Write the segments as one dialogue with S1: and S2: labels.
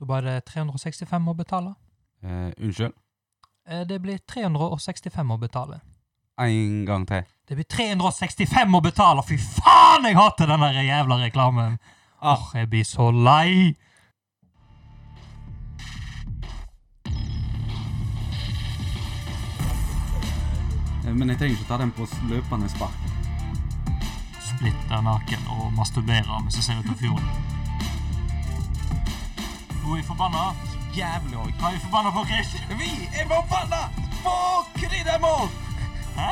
S1: Da var det 365 å betale.
S2: Eh, unnskyld.
S1: Eh, Det blir 365 å betale.
S2: En gang til.
S1: Det blir 365 å betale! Fy faen, jeg hater den der jævla reklamen! Åh, jeg blir så lei!
S2: Eh, Men jeg trenger ikke ta den på s- løpende spark.
S1: Splitter naken og masturberer mens jeg ser ut av fjorden. Nå er jeg forbanna.
S2: Jævlig òg.
S1: Hva er jeg forbanna på, Chris?
S2: Vi er forbanna på kryddermål!
S1: Hæ?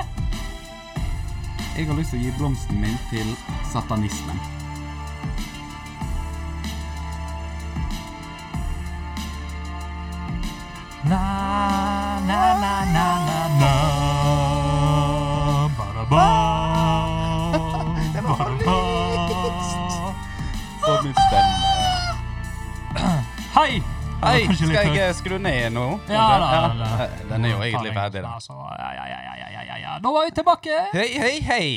S2: Jeg har lyst til å gi blomsten min til satanismen.
S1: Na, na, na, na, na, na. Bada, ba,
S3: Det var
S1: bada, ba.
S2: For min stemme.
S1: Hei!
S2: Hei,
S1: Det var kanskje
S2: skal
S1: litt
S2: jeg
S1: høyt.
S2: eh, skru ned nå?
S1: Ja, da, da, da.
S2: Ja, eh, Den er jo egentlig ferdig, da.
S1: Altså, ja, ja, ja, ja, ja, ja, ja. Da var vi tilbake.
S2: Hei, hei, hei!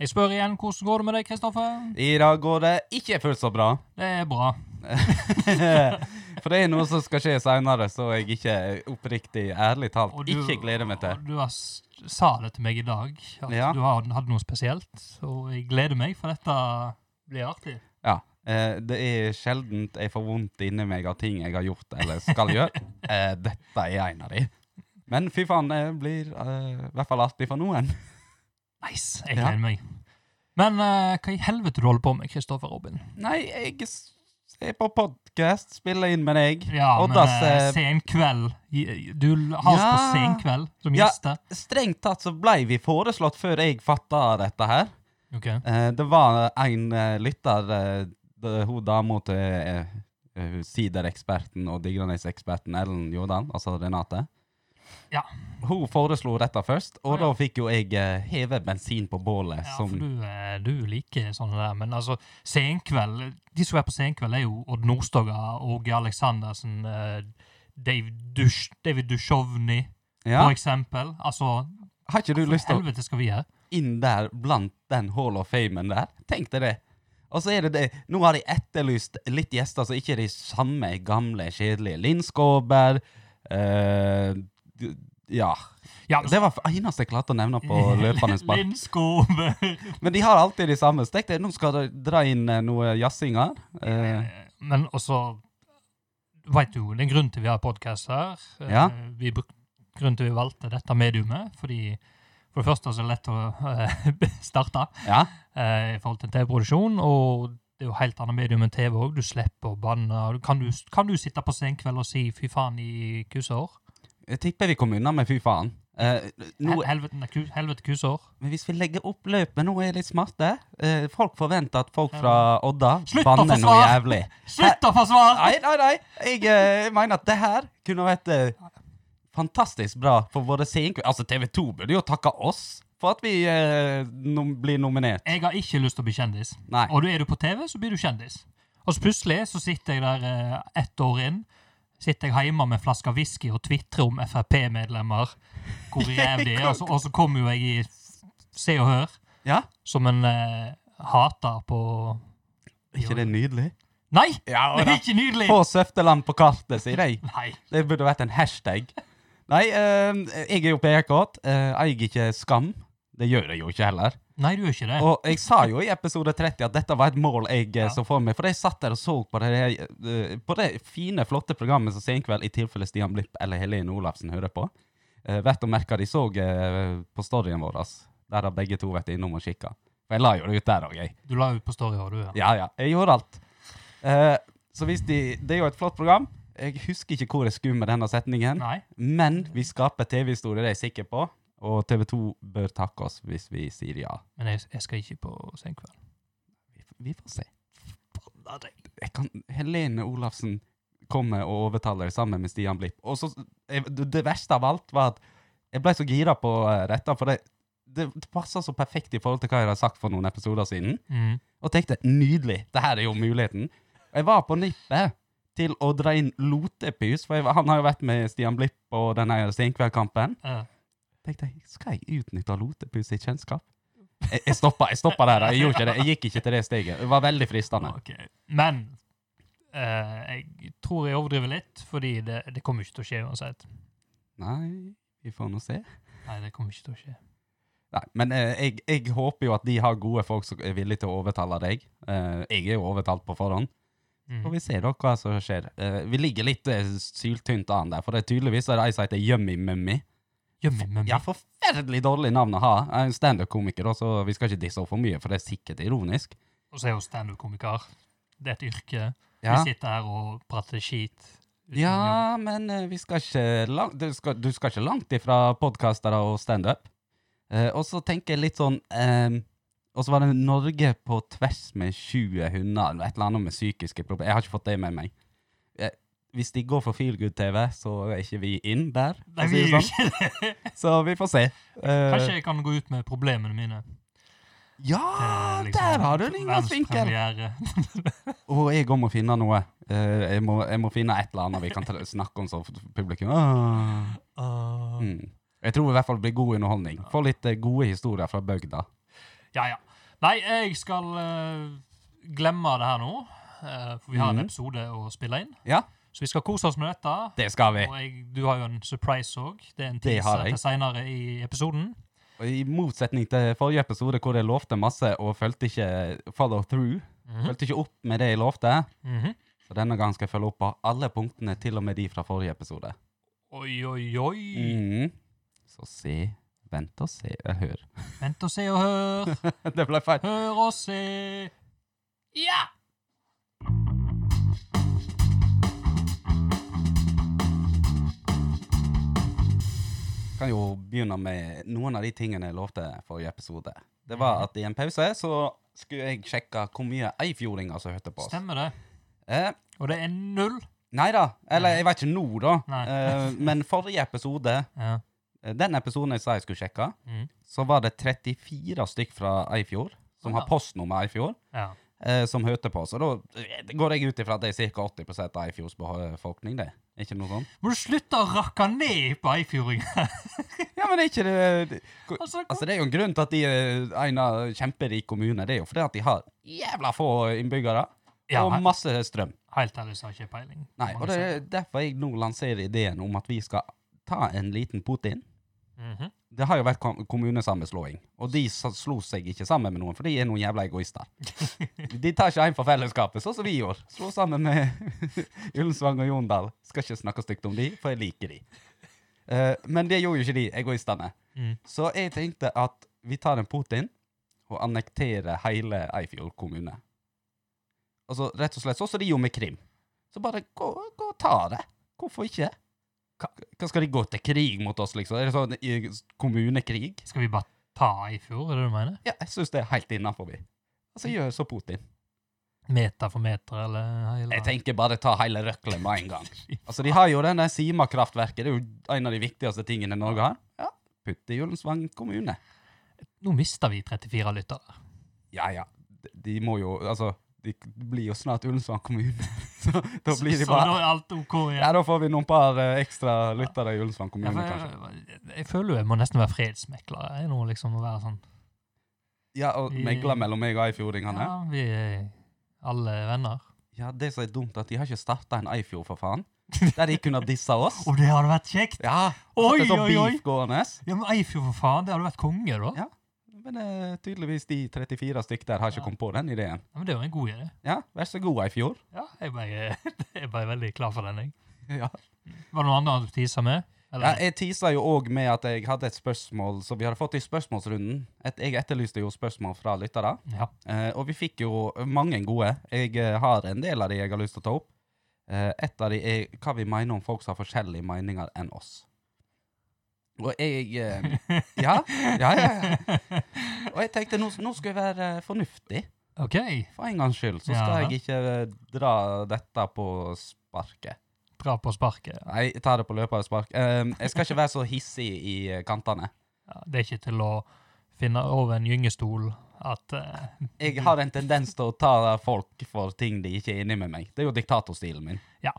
S1: Jeg spør igjen hvordan går det med deg, Kristoffer.
S2: I dag går det ikke fullt så bra.
S1: Det er bra.
S2: For det er noe som skal skje seinere, så jeg ikke eh, oppriktig, ærlig talt,
S1: Og du-
S2: ikke gleder meg til.
S1: og Du har, s- sa det til meg i dag, at
S2: Ja.
S1: du har, hadde noe spesielt. Og jeg gleder meg, for dette blir artig.
S2: Ja. eh, Det er sjeldent jeg får vondt inni meg av ting jeg har gjort eller skal gjøre. Eh, Dette er en av de. Men fy faen, det blir eh, i hvert fall artig for noen.
S1: Nice. Jeg
S2: Ja.
S1: gleder meg. Men eh, hva i helvete du holder på med, Kristoffer Robin?
S2: Nei, jeg s- ser på podkast, spiller inn med deg.
S1: Ja,
S2: Oddas,
S1: men eh,
S2: eh,
S1: Senkveld. I- Du har oss på
S2: Ja.
S1: Senkveld som
S2: Ja.
S1: gjester.
S2: Strengt tatt så blei vi foreslått før jeg fatta dette her.
S1: Ok.
S2: Eh, det var en eh, lytter, eh, det- hun dama til eh, eh, sidereksperten og Digranes-eksperten Ellen Jordan, altså Renate.
S1: Ja.
S2: Hun foreslo dette først, og
S1: Ja.
S2: da fikk jo jeg eh, heve bensin på bålet.
S1: Ja, for
S2: som,
S1: du, eh, du liker sånne der, men altså, Senkveld De som er på Senkveld, er jo Odd Nordstoga, Åge Aleksandersen, eh, Dave Dush, David Dushovny,
S2: ja.
S1: for eksempel. Altså,
S2: Har ikke du lyst til å
S1: helvete skal vi gjøre?
S2: inn der blant den Hall of Famen der. Tenk deg det. Og så er det det, nå har de etterlyst litt gjester som ikke er de samme gamle, kjedelige. Linn Skåber eh, d- Ja.
S1: Ja,
S2: Det var det eneste jeg klarte å nevne på løpende spark.
S1: Linn Skåber.
S2: Men de har alltid de samme. Stek det, nå skal de dra inn eh, noe jazzinger. Eh,
S1: Men også Veit du, det er en grunn til vi har podkast her. Eh,
S2: Ja.
S1: Vi bruk, grunnen til vi valgte dette mediumet, fordi for det første så er det lett å eh, starte.
S2: ja.
S1: eh, i forhold til TV-produksjon, og det er jo helt annet medium enn TV òg. Du slipper å banne. og du- Kan du, kan du sitte på senkveld og si 'fy faen' i kusår?
S2: Jeg tipper vi kom unna med fy faen. Eh, nå,
S1: Hel helvete, nei, ku- helvete kusår.
S2: men hvis vi legger opp løpet nå, er jeg litt smarte. Eh, folk forventer at folk fra Odda
S1: Slutt å
S2: banner noe
S1: forsvare!
S2: jævlig.
S1: Slutt å forsvare!
S2: Nei, nei, nei. Jeg eh, mener at det her kunne vært eh, fantastisk bra for våre senkveld. Altså, TV 2 burde jo takke oss for at vi eh, nom blir nominert.
S1: Jeg har ikke lyst til å bli kjendis.
S2: Nei.
S1: Og du er du på TV, så blir du kjendis. Og så plutselig så sitter jeg der eh, ett år inn. Sitter jeg hjemme med en flaske whisky og tvitrer om Frp-medlemmer. Hvor jævlig de er. Og så, og så kommer jo jeg i Se og Hør
S2: Ja,
S1: som en eh, hater på
S2: ikke det er nydelig?
S1: Nei!
S2: Ja,
S1: Det er ikke nydelig!
S2: Få Søfteland på kartet, sier jeg.
S1: Nei.
S2: Det burde vært en hashtag. Nei, eh, jeg er jo PR-kåt. Eh, eier ikke skam. Det gjør jeg jo ikke heller.
S1: Nei, du gjør ikke det.
S2: Og jeg sa jo i episode 30 at dette var et mål jeg eh,
S1: Ja.
S2: så for meg, for jeg satt der og så på det, eh, på det fine, flotte programmet som Senkveld, i tilfelle Stian Blipp eller Helene Olafsen hører på. Eh, Verdt å merke de så eh, på storyen vår, ass. der har begge to vært innom og kikka. For jeg la jo det ut der òg, jeg.
S1: Du la ut på story òg, du. Ja.
S2: Ja, ja. Jeg gjorde alt. Eh, så hvis de Det er jo et flott program. Jeg husker ikke hvor jeg skulle med denne setningen,
S1: Nei.
S2: men vi skaper TV-historie, det er jeg sikker på. Og TV 2 bør takke oss hvis vi sier ja.
S1: Men jeg, jeg skal ikke på Senkveld.
S2: Vi, vi får se. jeg kan, Helene Olafsen kommer og overtaler sammen med Stian Blipp. Og så, jeg, det det verste av alt var at jeg ble så gira på eh, dette, for det, det, det passet så perfekt i forhold til hva jeg hadde sagt for noen episoder siden.
S1: Mm.
S2: Og tenkte, nydelig, det her er jo muligheten. Jeg var på nippet til å dra inn Lotepys, for jeg, var- han har jo vært med Stian Blipp og denne Steinkveldkampen.
S1: eh,
S2: Tenkte jeg, skal jeg utnytte Lotepys i kjennskap? Jeg, jeg stoppa jeg stoppa der, jeg gjorde ikke det. Jeg gikk ikke til det steget. Det var veldig fristende.
S1: ok. Men Eh, jeg tror jeg overdriver litt, fordi det, det kommer ikke til å skje uansett.
S2: Nei, vi får nå se.
S1: Nei, det kommer ikke til å skje.
S2: Nei, men eh, jeg, jeg håper jo at de har gode folk som er villige til å overtale deg. Eh, jeg er jo overtalt på forhånd.
S1: Mm.
S2: Og vi ser da hva som skjer. Eh, vi ligger litt eh, syltynt an der, for det er tydeligvis er det ei som heter Yummy Mummy.
S1: Yummy mummy.
S2: Ja, forferdelig dårlig navn å ha. Jeg er en standup-komiker, da, så vi skal ikke disse henne for mye, for det er sikkert ironisk.
S1: Og så er jeg jo standup-komiker. Det er et yrke.
S2: Ja,
S1: Vi sitter her og prater skit. uten
S2: ja
S1: jobb.
S2: men eh, vi skal ikke langt, du, skal, du skal ikke langt ifra podkastere og standup. Eh, og så tenker jeg litt sånn ehm, Og så var det Norge på tvers med 20 hunder, eller et eller annet med psykiske problemer. Jeg har ikke fått det med meg. Eh, hvis de går for Feelgood-TV, så er ikke vi inn der. for
S1: Nei,
S2: å si
S1: vi
S2: det
S1: gjør
S2: sånn.
S1: ikke det.
S2: Så vi får se. Eh,
S1: Kanskje jeg kan gå ut med problemene mine. Det
S2: Ja,
S1: er liksom
S2: Ah, der har du en inngangsvinkel!
S1: verdenspremiere.
S2: Og jeg òg må finne noe. Eh, jeg, må, jeg må finne et eller annet vi kan ta- snakke om som publikum. Ah.
S1: Åh.
S2: Mm. Jeg tror i hvert fall det blir god underholdning. Få litt eh, gode historier fra bygda.
S1: Ja, ja. Nei, jeg skal eh, glemme det her nå. eh, for vi har en
S2: Mhm.
S1: episode å spille inn.
S2: Ja,
S1: Så vi skal kose oss med dette.
S2: det skal vi.
S1: Og jeg, du har jo en surprise òg. Det er en
S2: Det har
S1: teaser
S2: jeg.
S1: til seinere i episoden.
S2: Og I motsetning til forrige episode hvor jeg lovte masse og fulgte ikke follow through.
S1: Mhm.
S2: Fulgte ikke opp med det jeg lovte.
S1: Mhm.
S2: Så denne gangen skal jeg følge opp på alle punktene, til og med de fra forrige episode.
S1: Oi, oi, oi.
S2: Mm. Så se, vent og se, eh, hør.
S1: Vent og se og hør.
S2: det ble feil.
S1: Hør og se. Ja!
S2: kan jo begynne med noen av de tingene jeg lovte forrige episode. Det var at i en pause så skulle jeg sjekke hvor mye eifjordinger som hørte på oss.
S1: Stemmer det.
S2: Eh,
S1: Og det er null.
S2: nei da, eller jeg vet ikke nå da,
S1: Nei.
S2: eh, men forrige episode,
S1: Ja.
S2: eh, den episoden jeg sa jeg skulle sjekke,
S1: Mhm.
S2: så var det 34 stykk fra Eifjord, som
S1: Ja.
S2: har postnummer Eifjord,
S1: ja.
S2: eh, som hørte på oss. Og da eh, går jeg ut ifra at det er ca. 80 av Eifjords befolkning, det. Er Ikke noe sånt?
S1: Må du slutte å rakke ned på eifjordinger?
S2: Ja, men det er ikke det... det-
S1: altså,
S2: Altså, Det er jo en grunn til at de er en av kjemperik kommune. Det er jo fordi at de har jævla få innbyggere
S1: ja,
S2: og masse strøm.
S1: helt ærlig så har jeg ikke peiling.
S2: Nei, og det er derfor jeg nå lanserer ideen om at vi skal ta en liten Putin.
S1: Mhm.
S2: Det har jo vært kom- kommunesammenslåing, og de sa- slo seg ikke sammen med noen, for de er noen jævla egoister. De tar ikke en for fellesskapet, sånn som vi gjorde. Slo sammen med Ullensvang og Jondal. Skal ikke snakke stygt om de, for jeg liker de. Eh, men det gjorde jo ikke de, egoistene.
S1: Mm.
S2: Så jeg tenkte at vi tar en Putin og annekterer hele Eifjord kommune. Altså, rett og slett, sånn som de gjorde med Krim. Så bare gå, gå og ta det. Hvorfor ikke? Hva, hva skal de gå til krig mot oss, liksom? Er det sånn i- kommunekrig?
S1: Skal vi bare ta Eifjord, er det du mener?
S2: Ja, jeg syns det er helt innafor. Altså, gjør så Putin.
S1: Meter for meter, eller hele
S2: Jeg tenker bare ta hele røklet med en gang. Altså, De har jo den der Sima-kraftverket. Det er jo en av de viktigste tingene Norge har. Ja, Putt i Ullensvang kommune.
S1: Nå mister vi 34 lyttere.
S2: Ja, ja. De- De må jo Altså, de blir jo snart Ullensvang kommune. Så da blir de
S1: så, så da
S2: bare
S1: er alt OK igjen.
S2: Ja, da får vi noen par eh, ekstra lyttere i Ullensvang
S1: Ja,
S2: kommune,
S1: for
S2: kanskje.
S1: jeg, jeg, jeg føler jo jeg må nesten være fredsmekler. Jeg er nå liksom å være sånn
S2: Ja, og megla mellom meg og eifjordingene.
S1: Ja, vi er alle venner.
S2: Ja, det som er dumt, at de har ikke starta en Eifjord, for faen. Der de kunne ha dissa oss.
S1: Og det hadde vært kjekt!
S2: Ja,
S1: Oi,
S2: det er sånn
S1: oi, oi.
S2: beef gående.
S1: Ja, men Eifjord, for faen! Det hadde vært konge, da.
S2: Ja. Men eh, tydeligvis de 34 stykk der har ikke
S1: Ja.
S2: kommet på den ideen.
S1: Ja, men Det var en god idé.
S2: Ja, vær så god, Eifjord.
S1: Ja, jeg ble, jeg ble veldig klar for den, jeg.
S2: Ja.
S1: Var det noe annet du tisa med?
S2: Ja,
S1: Eller?
S2: jeg teasa jo òg med at jeg hadde et spørsmål som vi hadde fått i spørsmålsrunden. Et, jeg etterlyste jo spørsmål fra lyttere,
S1: Ja.
S2: eh, og vi fikk jo mange gode. Jeg eh, har en del av de jeg har lyst til å ta opp. Eh, et av de er hva vi mener om folk som har forskjellige meninger enn oss. Og jeg eh, ja, ja, ja, ja. Og jeg tenkte nå, nå skal jeg være eh, fornuftig.
S1: OK.
S2: For en gangs skyld så skal
S1: Ja.
S2: jeg ikke eh, dra dette på sparket.
S1: Dra på sparket.
S2: Nei, jeg tar det på løpet av spark. Ehm, jeg skal ikke være så hissig i eh, kantene.
S1: Ja, det er ikke til å finne over en gyngestol at eh,
S2: Jeg har en tendens til å ta folk for ting de ikke er enig med meg. Det er jo diktatorstilen min.
S1: Ja.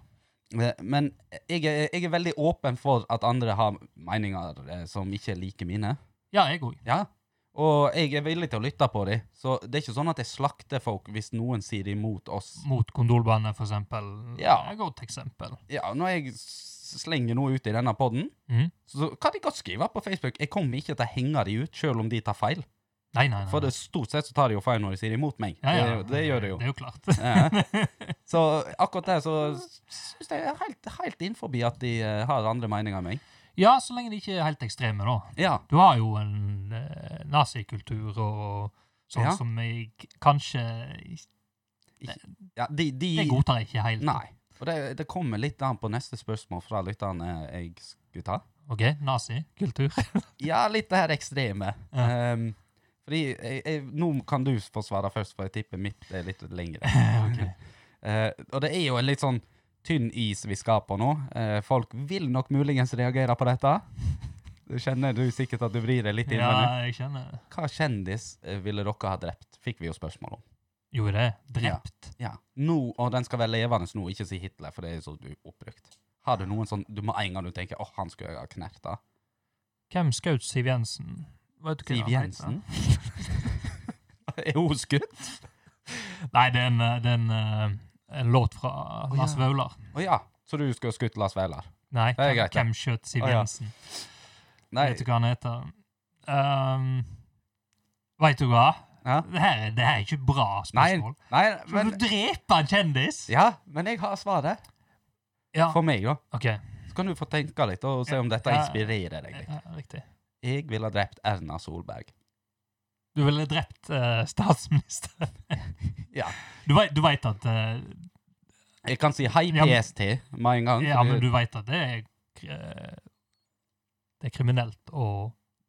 S2: Eh, Men jeg er, jeg er veldig åpen for at andre har meninger eh, som ikke er like mine.
S1: Ja, jeg òg.
S2: Ja. Og jeg er villig til å lytte på dem, så det er ikke sånn at jeg slakter folk hvis noen sier imot oss.
S1: Mot kondolbandet, for eksempel.
S2: Ja.
S1: Det er et godt eksempel.
S2: Ja, når jeg s- slenger noe ut i denne podden,
S1: Mhm.
S2: så kan de godt skrive på Facebook. Jeg kommer ikke til å henge de ut, selv om de tar feil.
S1: Nei, nei, nei.
S2: For det, stort sett så tar de jo feil når de sier imot meg.
S1: Ja, ja.
S2: Det, det gjør de jo.
S1: Det er jo klart.
S2: Ja. Eh, Så akkurat der så syns jeg er helt, helt innenfor at de eh, har andre meninger enn meg.
S1: Ja, så lenge de ikke er helt ekstreme, da.
S2: Ja.
S1: Du har jo en eh, nazikultur og sånn
S2: Ja.
S1: som jeg kanskje
S2: ja de, de,
S1: Jeg godtar ikke helt.
S2: Nei. Og det, det kommer litt an på neste spørsmål fra lytterne jeg skulle ta.
S1: OK, nazikultur.
S2: Ja, litt det her ekstreme.
S1: Ja.
S2: Ehm, fordi jeg, jeg, Nå kan du få svare først, for jeg tipper mitt er litt lengre. Eh, og det er jo en litt sånn tynn is vi skal på nå. Eh, folk vil nok muligens reagere på dette. Du kjenner du sikkert at du vrir deg litt inn. men
S1: Ja, jeg kjenner
S2: Hva kjendis eh, ville dere ha drept? Fikk vi jo spørsmål om.
S1: Jo, det er drept.
S2: Ja. Nå, og den skal være levende nå, ikke si Hitler, for det er så du- oppbrukt. Har du noen sånn Du må en gang du tenker åh, han skulle jeg ha knerta.
S1: Hvem skjøt Siv Jensen? Vet du hva
S2: Siv
S1: han heter?
S2: Jensen. er hun skutt?
S1: Nei, det er en, eh, det er en, eh, en låt fra
S2: Å,
S1: Lars
S2: ja.
S1: Vaular.
S2: Å ja. Så du skulle ha skutt Lars Vaular?
S1: Nei,
S2: Det er
S1: hvem,
S2: greit, ja.
S1: hvem skjøt Siv
S2: Å, ja.
S1: Jensen?
S2: Nei.
S1: Vet du hva han heter? Um, Veit du hva?
S2: Ja.
S1: Det her, er- det her er ikke bra
S2: Nei,
S1: spørsmål.
S2: nei,
S1: Skal
S2: men
S1: du drepe en kjendis?
S2: Ja, men jeg har svaret.
S1: Ja,
S2: For meg, da.
S1: OK.
S2: Så kan du få tenke litt og se om dette
S1: Ja.
S2: inspirerer deg litt.
S1: Ja, riktig.
S2: Jeg ville ha drept Erna Solberg.
S1: Du ville drept eh, statsministeren.
S2: Ja.
S1: Du veit, du vet at eh,
S2: Jeg kan si hei
S1: Ja, men-
S2: PST med en gang.
S1: Ja, men
S2: fordi
S1: du veit at det er eh, Det er kriminelt å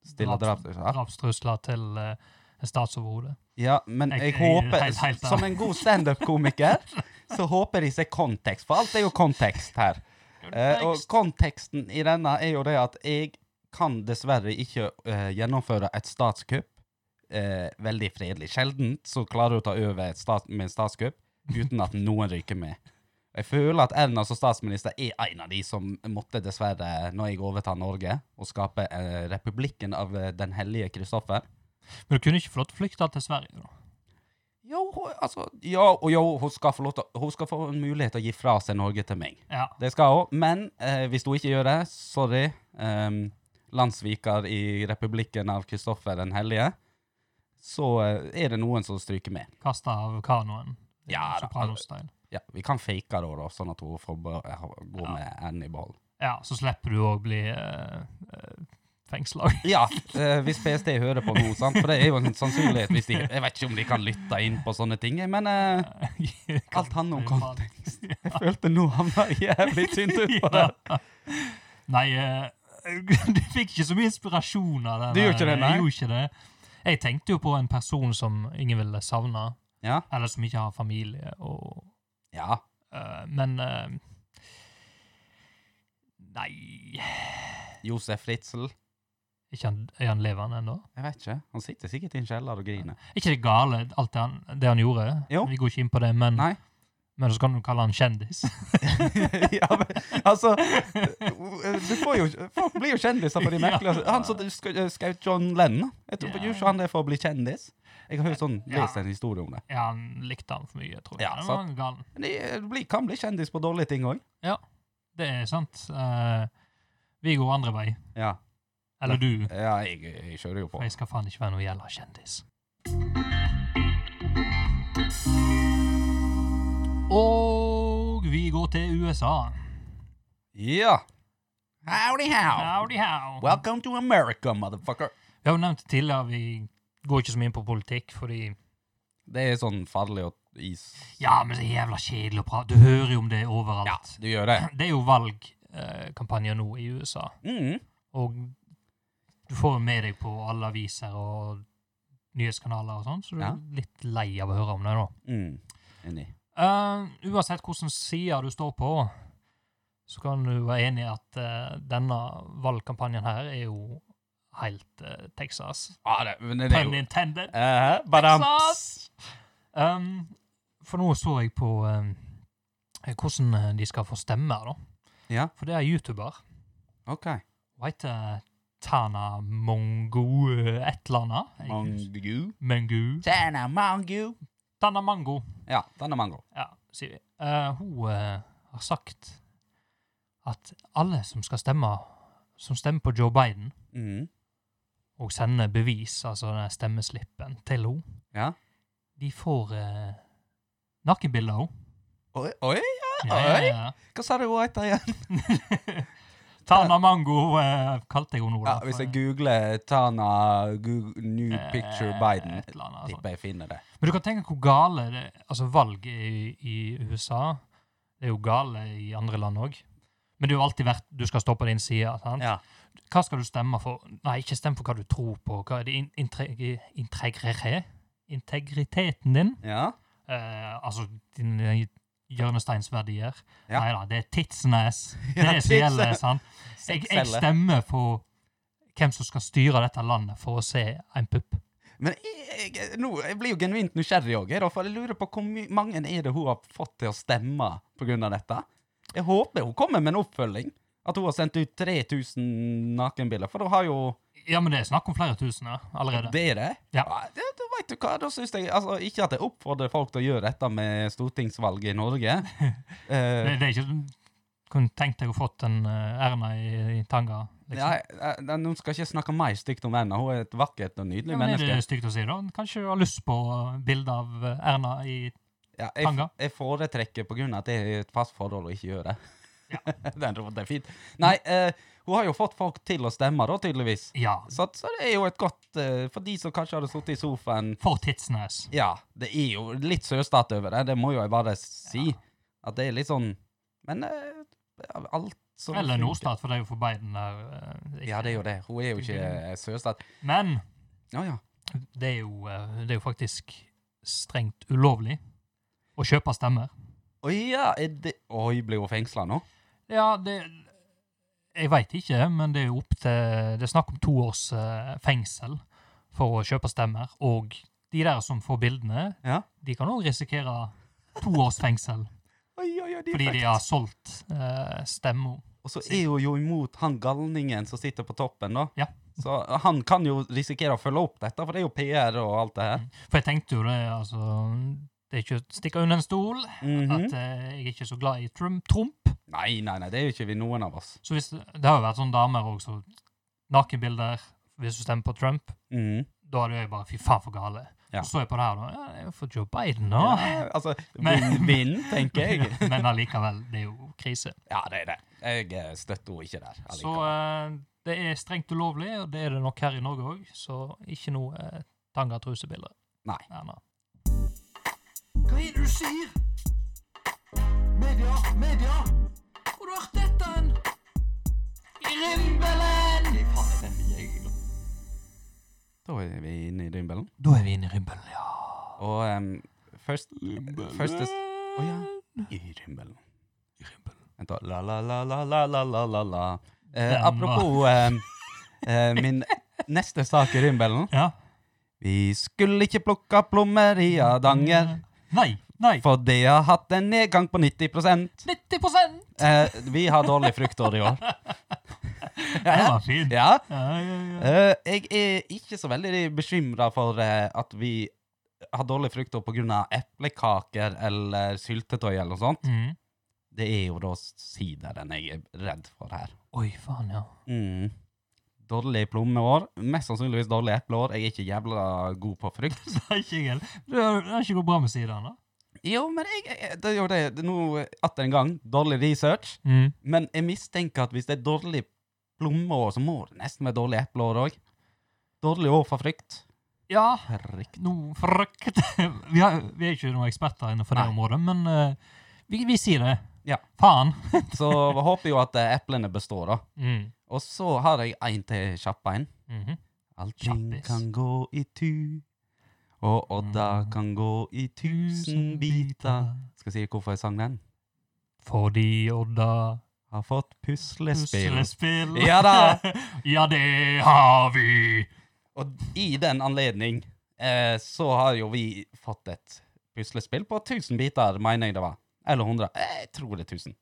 S2: stiller
S1: draps-
S2: draps- ja.
S1: drapstrusler til eh, en statsoverhode.
S2: ja, men
S1: Jeg-
S2: jeg
S1: jeg-
S2: håper,
S1: helt- helt-
S2: som en god standup-komiker, så håper de ser kontekst, for alt er jo kontekst her. Eh, og konteksten i denne er jo det at jeg kan dessverre ikke eh, gjennomføre et statskupp eh, veldig fredelig. Sjeldent så klarer du å ta over et stat med en statskupp uten at noen ryker med. Jeg føler at Erna som statsminister er en av de som måtte dessverre, når jeg overtar Norge, og skape eh, republikken av eh, den hellige Kristoffer.
S1: Men du kunne ikke få lov til å flykte til Sverige, da.
S2: Jo, hun- altså, ja, og jo, hun skal, få lov til, å- hun skal få en mulighet til å gi fra seg Norge til meg.
S1: Ja.
S2: Det skal hun, men eh, hvis hun ikke gjør det, sorry. ehm, landsviker i republikken av Kristoffer den hellige, så eh, er det noen som stryker med.
S1: Kasta av kanoen.
S2: Ja da.
S1: Sopranos-style.
S2: Ja, Vi kan fake det, da, sånn at hun får ba- gå med enden i behold.
S1: Ja, så slipper du å bli uh, fengsla.
S2: Ja, eh, hvis PST hører på nå, sant? for det er jo en sannsynlighet hvis de Jeg vet ikke om de kan lytte inn på sånne ting, men eh, alt handler om kontekst. Jeg følte nå havna jeg jævlig tynt ut på det.
S1: Ja. Nei, eh, du fikk ikke så mye inspirasjon av det.
S2: Du
S1: der.
S2: gjorde ikke det, nei?
S1: Jeg gjorde ikke det. Jeg tenkte jo på en person som ingen ville savne,
S2: Ja.
S1: eller som ikke har familie. Og,
S2: ja.
S1: eh, men eh, Nei
S2: Josef Ritzel.
S1: ikke han, Er han levende ennå?
S2: Jeg vet ikke. Han sitter sikkert i en kjeller og griner.
S1: Er ikke det gale, alt det han, det han gjorde?
S2: Jo.
S1: Vi går ikke inn på det, men,
S2: Nei.
S1: men så kan du kalle han kjendis.
S2: ja, men, altså du får jo, Folk blir jo kjendiser på de merkelige Han som sk- skjøt John Lennon Jeg tror
S1: Ja.
S2: gjør ikke han det for å bli kjendis. Jeg har hørt sånn,
S1: Ja.
S2: lest en historie om det.
S1: Ja, han likte han for mye, tror jeg.
S2: Ja,
S1: Han var gal.
S2: Men de blir- kan bli kjendis på dårlige ting òg.
S1: Det er sant. Eh, vi går andre vei.
S2: Ja.
S1: Eller du.
S2: ja, jeg, jeg kjører jo på.
S1: For jeg skal faen ikke være noe jævla kjendis. Og vi går til USA.
S2: Ja. Howdy how.
S1: Howdy how.
S2: Welcome to America, motherfucker.
S1: Vi har jo nevnt det tidligere, vi går ikke så mye inn på politikk, fordi
S2: Det er sånn farlig å is...
S1: Ja, men det er jævla kjedelig å prate. Du hører jo om det overalt.
S2: Du gjør det.
S1: Det er jo valgkampanjer nå i USA,
S2: Mm.
S1: og du får jo med deg på alle aviser og nyhetskanaler og sånn, så du
S2: Ja.
S1: er litt lei av å høre om det, da.
S2: Mm. Enig.
S1: Eh, uansett hvilken side du står på, så kan du være enig i at eh, denne valgkampanjen her er jo helt eh, Texas.
S2: Ah, det, men det er
S1: Pun
S2: jo
S1: intended.
S2: Eh, badam.
S1: Texas! Um, for nå så jeg på um, hvordan eh, de skal få stemmer, da.
S2: Ja.
S1: For det er en YouTuber.
S2: OK.
S1: Hun heter Tana Mongo eh, et eller annet. Jeg-
S2: Mangu.
S1: Mongo.
S2: Tjena, mangu.
S1: Tana Mango,
S2: Ja, den er mango.
S1: ja, sier vi. Eh, hun eh, har sagt at alle som skal stemme, som stemmer på Joe Biden,
S2: Mhm.
S1: og sender bevis, altså den stemmeslippen, til henne,
S2: Ja.
S1: de får eh, nakenbilder av henne.
S2: Oi, oi,
S1: Ja, ja, ja.
S2: hva sa du hun heter igjen?
S1: Tana Mango eh, kalte jeg henne nå. da,
S2: Ja, hvis
S1: for-
S2: jeg googler Tana Goog- New
S1: Eh,
S2: Picture Biden,
S1: et eller annet, altså.
S2: tipper jeg finner det.
S1: Men du kan tenke hvor gale det, altså valg i, i USA Det er jo gale i andre land òg. Men det er jo alltid verdt du skal stå på din side. Sant?
S2: Ja.
S1: Hva skal du stemme for? Nei, ikke stem for hva du tror på. Hva er det in- integri- integrere? Integriteten din?
S2: Ja.
S1: Eh, altså dine hjørnesteinsverdier?
S2: Ja.
S1: Nei da, det er tidsnes. Det
S2: Ja,
S1: er det som
S2: tidsnes.
S1: gjelder. sant? Jeg, jeg
S2: Sexceller.
S1: stemmer på hvem som skal styre dette landet for å se en pupp.
S2: Men jeg, jeg, nå, jeg blir jo genuint nysgjerrig òg, for jeg lurer på hvor my- mange er det hun har fått til å stemme pga. dette. Jeg håper hun kommer med en oppfølging. At hun har sendt ut 3000 nakenbilder, for hun har jo
S1: Ja, men det er snakk om flere tusen ja, allerede.
S2: Det er det?
S1: Ja.
S2: det, da vet du hva, da synes jeg altså, Ikke at jeg oppfordrer folk til å gjøre dette med stortingsvalget i Norge. Eh,
S1: Det, det er ikke Kunne tenkt deg å fått en eh, Erna i, i tanga. liksom.
S2: Nei, eh, nei, nå skal jeg ikke snakke mer stygt om henne. Hun er et vakkert og nydelig
S1: Ja, men er
S2: menneske.
S1: det stygt å si, da? Kanskje du har lyst på bilde av eh, Erna i
S2: Ja, jeg,
S1: Tanga.
S2: jeg foretrekker på grunn av at det er et fast forhold å ikke gjøre. Den roen er fint. Nei, eh, hun har jo fått folk til å stemme, da, tydeligvis.
S1: Ja.
S2: Så, så det er jo et godt eh, For de som kanskje hadde sittet i sofaen
S1: For Tidsnes.
S2: Ja, det er jo litt søstat over det, det må jo jeg bare si. At det er litt sånn Men eh, alt som
S1: Eller
S2: funker-
S1: Nordstat, for det er jo for Biden der. eh,
S2: Ja, det er jo det. Hun er jo ikke eh, søstat.
S1: Men
S2: Ja, ja.
S1: det er jo, eh, det er jo faktisk strengt ulovlig å kjøpe stemmer.
S2: Oi, ja, er det Oi, blir hun fengsla nå?
S1: Ja, det Jeg veit ikke, men det er jo opp til Det er snakk om to års eh, fengsel for å kjøpe stemmer. Og de der som får bildene,
S2: Ja.
S1: de kan òg risikere to års fengsel
S2: Oi, oi, oi, de er
S1: fordi de
S2: fucked.
S1: har solgt uh, stemmer.
S2: Og så er hun jo imot han galningen som sitter på toppen, da.
S1: Ja.
S2: Så eh, han kan jo risikere å følge opp dette, for det er jo PR og alt det her.
S1: For jeg tenkte jo det, altså Det er ikke å stikke under en stol
S2: Mhm.
S1: at eh, jeg er ikke så glad i Trump. Trump.
S2: Nei, nei, nei, det er jo ikke vi noen av oss.
S1: Så hvis, det har jo vært sånne damer òg, så nakenbilder hvis du stemmer på Trump.
S2: Mhm.
S1: da hadde jeg bare Fy faen, for gale.
S2: Ja.
S1: Så så jeg på det her, da. Ja, det er jo for Joe Biden, da.
S2: Ja, altså,
S1: Men-
S2: vinn-vinn, tenker jeg.
S1: Men allikevel, det er jo krise.
S2: Ja, det er det. Jeg eh, støtter henne ikke der.
S1: Så
S2: allikevel.
S1: eh, det er strengt ulovlig, og det er det nok her i Norge òg, så ikke noe eh, tanga-trusebilder.
S2: Nei.
S1: Erna.
S4: Hva er det du sier? Media, media! Hvor har du hørt dette hen? I rimbelen! Nei, faen, den vil jeg ikke.
S2: Da er vi inne i rimbelen.
S1: Da er vi inne i rimbelen, ja.
S2: Ah. Og em, først Første s- Å ja. I rimbelen.
S1: I rimbelen.
S2: Vent, da. La-la-la-la-la-la-la-la. Eh,
S1: Den var-
S2: apropos em, eh, min neste sak i rimbelen.
S1: Ja.
S2: Vi skulle ikke plukke plommer i Hardanger,
S1: Nei, nei.
S2: for det har hatt en nedgang på 90
S1: 90
S2: eh, Vi har dårlig fruktår i år.
S1: Den var fin. Ja.
S2: Ja.
S1: Ja, ja,
S2: Eh, jeg er ikke så veldig bekymra for eh, at vi har dårlig fruktår pga. eplekaker eller syltetøy eller noe sånt.
S1: Mm.
S2: Det er jo da sideren jeg er redd for her.
S1: Oi, faen, ja.
S2: Mm. Dårlig plommeår. Mest sannsynligvis dårlig epleår. Jeg er ikke jævla god på frukt.
S1: Det er ikke jeg heller. Det har- det har ikke gått bra med sidene, da.
S2: Jo, men jeg, jeg, det er jo det. det er Nå atter en gang, dårlig research.
S1: Mm.
S2: Men jeg mistenker at hvis det er dårlig plommeår, så må det nesten være dårlig epleår òg. Dårlig år for frukt.
S1: Ja.
S2: Herregud.
S1: noe frukt vi, har, vi er ikke noen eksperter innenfor det
S2: Nei.
S1: området, men eh, vi, vi sier det.
S2: Ja.
S1: Faen.
S2: Så jeg håper jo at eh, eplene består, da.
S1: Mm.
S2: Og så har jeg en til kjapp en.
S1: Mhm.
S2: Allting
S1: Kjappis.
S2: kan gå i tu, og Odda kan gå i Mm. tusen biter. Skal jeg si hvorfor jeg sang den?
S1: Fordi Odda
S2: Har fått puslespill.
S1: Puslespill.
S2: Ja da!
S1: ja, det har vi!
S2: Og i den anledning eh, så har jo vi fått et puslespill på 1000 biter, mener jeg det var. Eller 100. Eh, Jeg tror det er 1000.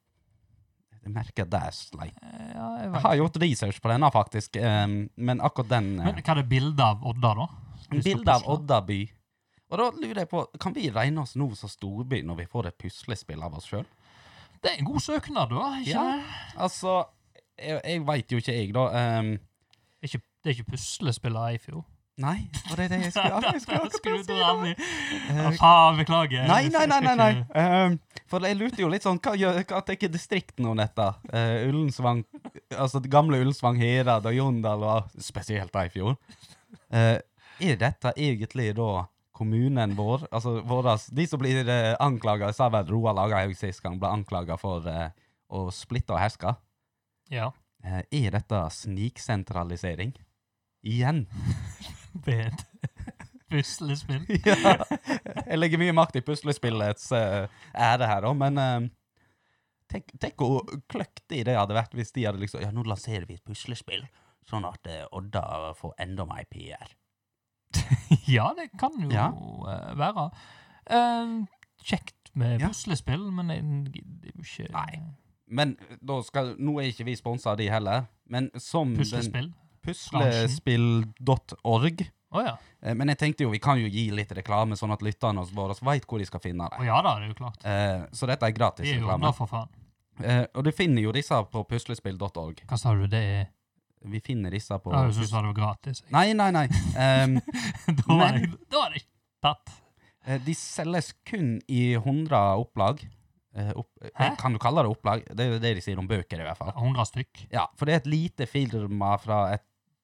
S2: Jeg merker det er sleit.
S1: Ja, jeg
S2: Jeg
S1: vet.
S2: har gjort research på denne, faktisk, em, men akkurat den eh,
S1: Men hva er det bilde av Odda, da?
S2: Bilde av Odda by. Og da lurer jeg på, kan vi regne oss nå som storby når vi får et puslespill av oss sjøl?
S1: Det er en god søknad, da. Ikke
S2: Ja.
S1: det?
S2: Altså, jeg, jeg veit jo ikke, jeg, da. Ehm, em,
S1: Det er ikke, det er ikke puslespill av Eifjord.
S2: nei, og det er det jeg skulle jeg skulle akkurat
S1: Skulle du
S2: si
S1: dra
S2: det.
S1: ned? Ja,
S2: Eh,
S1: faen, beklager.
S2: Nei,
S1: Jeg
S2: nei, nei,
S1: skal
S2: nei, nei.
S1: ikke-
S2: Em, for jeg lurte jo litt sånn, hva gjør hva tenker distriktene om dette? Eh, Ullensvang, altså det gamle Ullensvang, Herad og Jondal, og spesielt Eifjord. Eh, er dette egentlig da kommunen vår, altså våras, de som blir eh, anklaget, sa vel Roa Lagerhaug sist gang, ble anklaget for eh, å splitte og herske.
S1: Ja,
S2: Eh, er dette sniksentralisering? Igjen?
S1: ved puslespill.
S2: ja. Jeg legger mye makt i puslespillets eh, ære her, da, men eh, tenk, tenk hvor kløktig det hadde vært hvis de hadde liksom Ja, nå lanserer vi et puslespill, sånn at eh, Odda får enda mer PR.
S1: Ja, det kan jo
S2: Ja.
S1: eh, være. Eh, kjekt med
S2: Ja.
S1: puslespill, men jeg gidder jo ikke
S2: Nei. Men eh, da skal, nå er ikke vi sponsa av de heller, men som den-
S1: puslespill.
S2: Puslespill.org.
S1: Å ja.
S2: Eh, Men jeg tenkte jo, vi kan jo gi litt reklame, sånn at lytterne våre veit hvor de skal finne
S1: Å
S2: det.
S1: ja da, det er jo klart.
S2: Eh, så dette er gratis
S1: Vi er jo
S2: reklame.
S1: glad for faen.
S2: Eh, og du finner jo disse på puslespill.org.
S1: Hva sa du, det er
S2: Vi finner disse på
S1: Ja, Jeg syntes det var gratis. jeg.
S2: Nei, nei, nei. Ehm,
S1: da var
S2: men-
S1: det- da var det ikke tatt.
S2: eh, de selges kun i 100 opplag. Eh, opp, eh,
S1: Hæ?
S2: kan du kalle det opplag? Det er jo det de sier om bøker, i hvert fall.
S1: 100 stykk.
S2: Ja, For det er et lite firma fra et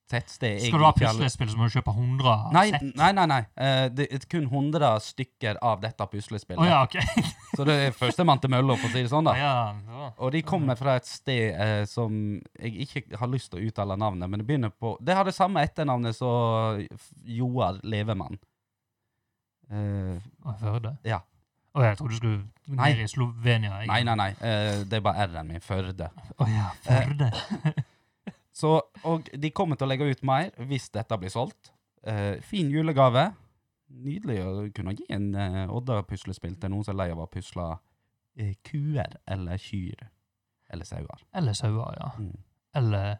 S2: tettsted
S1: Skal du ha
S2: egentlig i alle-
S1: puslespill, så må du kjøpe 100
S2: Nei,
S1: sett.
S2: nei, nei. nei. Eh, det er kun 100 stykker av dette puslespillet.
S1: Å ja, OK.
S2: Så det er førstemann til mølla, for å si det sånn. da.
S1: Ja, da.
S2: Og de kommer fra et sted eh, som jeg ikke har lyst til å uttale navnet, men det begynner på Det har det samme etternavnet som Joar Levemann. Eh,
S1: Å, Førde?
S2: Ja.
S1: Å, jeg trodde du skulle
S2: Nei.
S1: ned i Slovenia. jeg.
S2: Nei, Eh. nei, nei. eh, det er bare R-en min. Førde.
S1: Å ja, Førde.
S2: Så, og de kommer til å legge ut mer hvis dette blir solgt. Eh, fin julegave. Nydelig å kunne gi en eh, Odda-puslespill til noen som er lei av å pusle eh, kuer eller kyr. Eller sauer.
S1: Eller sauer, ja.
S2: Mm.
S1: Eller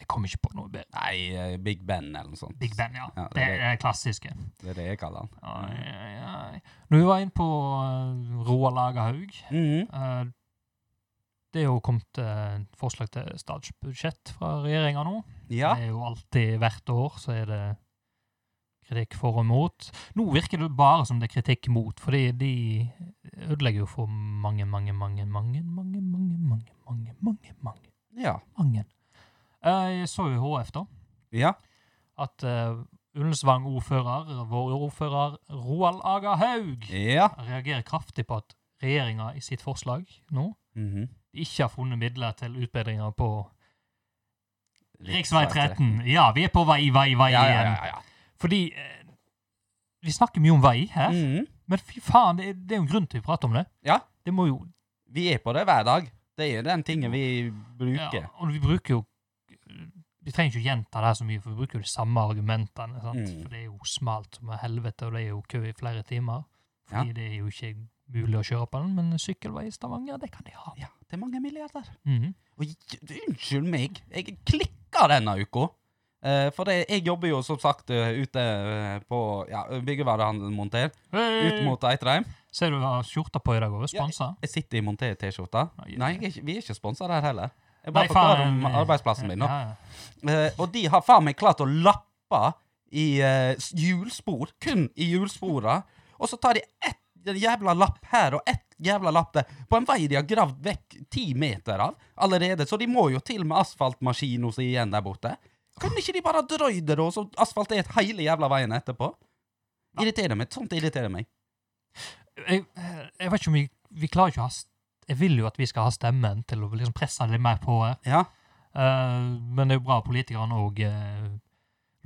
S1: Jeg kom ikke på noe bedre.
S2: Nei, eh, Big Ben eller noe sånt.
S1: Big Ben, ja.
S2: Ja, det
S1: det
S2: er
S1: er det klassiske.
S2: Det er det jeg kaller han.
S1: Ai, ai, ai. Når vi var inne på eh, Roar Lagerhaug
S2: Mhm.
S1: eh, Det er jo kommet eh, forslag til statsbudsjett fra regjeringa nå.
S2: Ja.
S1: Det er jo alltid hvert år så er det kritikk for og mot. Nå virker det bare som det er kritikk mot, fordi de ødelegger jo for mange, mange, mange, mange, mange, mange, mange, mange, mange, mange,
S2: ja.
S1: mange. Eh, Jeg så jo i HF da,
S2: Ja.
S1: at eh, Ullensvang-ordfører, vår ordfører Roald Aga Haug,
S2: Ja.
S1: reagerer kraftig på at regjeringa i sitt forslag nå
S2: Mhm.
S1: ikke har funnet midler til utbedringer på Riksvei
S2: Riksvei
S1: 13. Ja, vi er på vei, vei, vei
S2: Ja, ja,
S1: igjen.
S2: ja. ja.
S1: Fordi eh, vi snakker mye om vei her,
S2: Mhm.
S1: men fy faen, det, er- det er jo en grunn til vi prater om det.
S2: Ja.
S1: Det må jo
S2: Vi er på det hver dag. Det er den tingen vi bruker.
S1: ja, Og vi bruker jo Vi trenger ikke å gjenta det her så mye, for vi bruker jo de samme argumentene. Sant?
S2: Mm.
S1: For det er jo smalt som er helvete, og det er jo kø i flere timer. Fordi det er jo ikke mulig å kjøre på den, men sykkelvei i Stavanger, det kan de ha.
S2: Ja, det er mange milliarder.
S1: Mhm.
S2: Og j- unnskyld meg, jeg klikka denne uka. Eh, for det, jeg jobber jo som sagt eh, ute eh, på ja, byggevarehandelen Monter, ut
S1: Hey!
S2: mot Eitrheim.
S1: Ser du du har skjorta på i dag òg?
S2: Ja,
S1: Sponsa?
S2: Jeg sitter i Monter-T-skjorta.
S1: Nei,
S2: Nei, jeg er ikke, vi er ikke sponsa der heller. Jeg
S1: Nei,
S2: bare forklarer
S1: faen,
S2: om
S1: eh,
S2: arbeidsplassen min nå.
S1: Ja, ja.
S2: Eh, og de har faen meg klart å lappe i eh, s- hjulspor, kun i hjulspora. Og så tar de ett jævla lapp her og ett jævla lapp der, på en vei de har gravd vekk ti meter av allerede, så de må jo til med asfaltmaskina si igjen der borte. Kan ikke de bare ha drøyd det, da, og så asfaltert hele jævla veien etterpå? Irriterer meg. Sånt irriterer meg.
S1: jeg, jeg vet ikke om vi, vi klarer ikke å ha st- Jeg vil jo at vi skal ha stemmen til å liksom presse litt mer på her.
S2: Ja.
S1: Eh, men det er jo bra at politikerne og eh,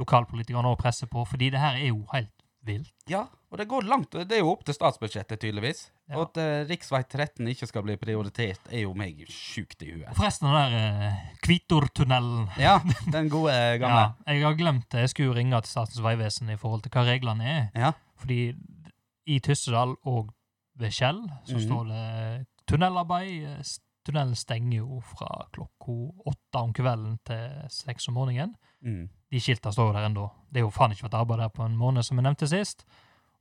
S1: lokalpolitikerne også presser på, fordi det her er jo helt vilt.
S2: Ja, og det går langt. Det er jo opp til statsbudsjettet, tydeligvis.
S1: Ja.
S2: Og at uh, rv. 13 ikke skal bli prioritert, er jo meg sjukt i
S1: Og
S2: huet.
S1: Forresten, den der uh, Kvitortunnelen
S2: Ja, den gode gamle.
S1: ja, Jeg har glemt det. Jeg skulle jo ringe til Statens vegvesen i forhold til hva reglene er.
S2: Ja.
S1: Fordi i Tyssedal og ved Skjell så
S2: Mhm.
S1: står det tunnelarbeid. Eh, s- Tunnelen stenger jo fra klokka åtte om kvelden til seks om morgenen.
S2: Mm.
S1: De skilta står jo der ennå. Det er jo faen ikke vært arbeid der på en måned, som jeg nevnte sist.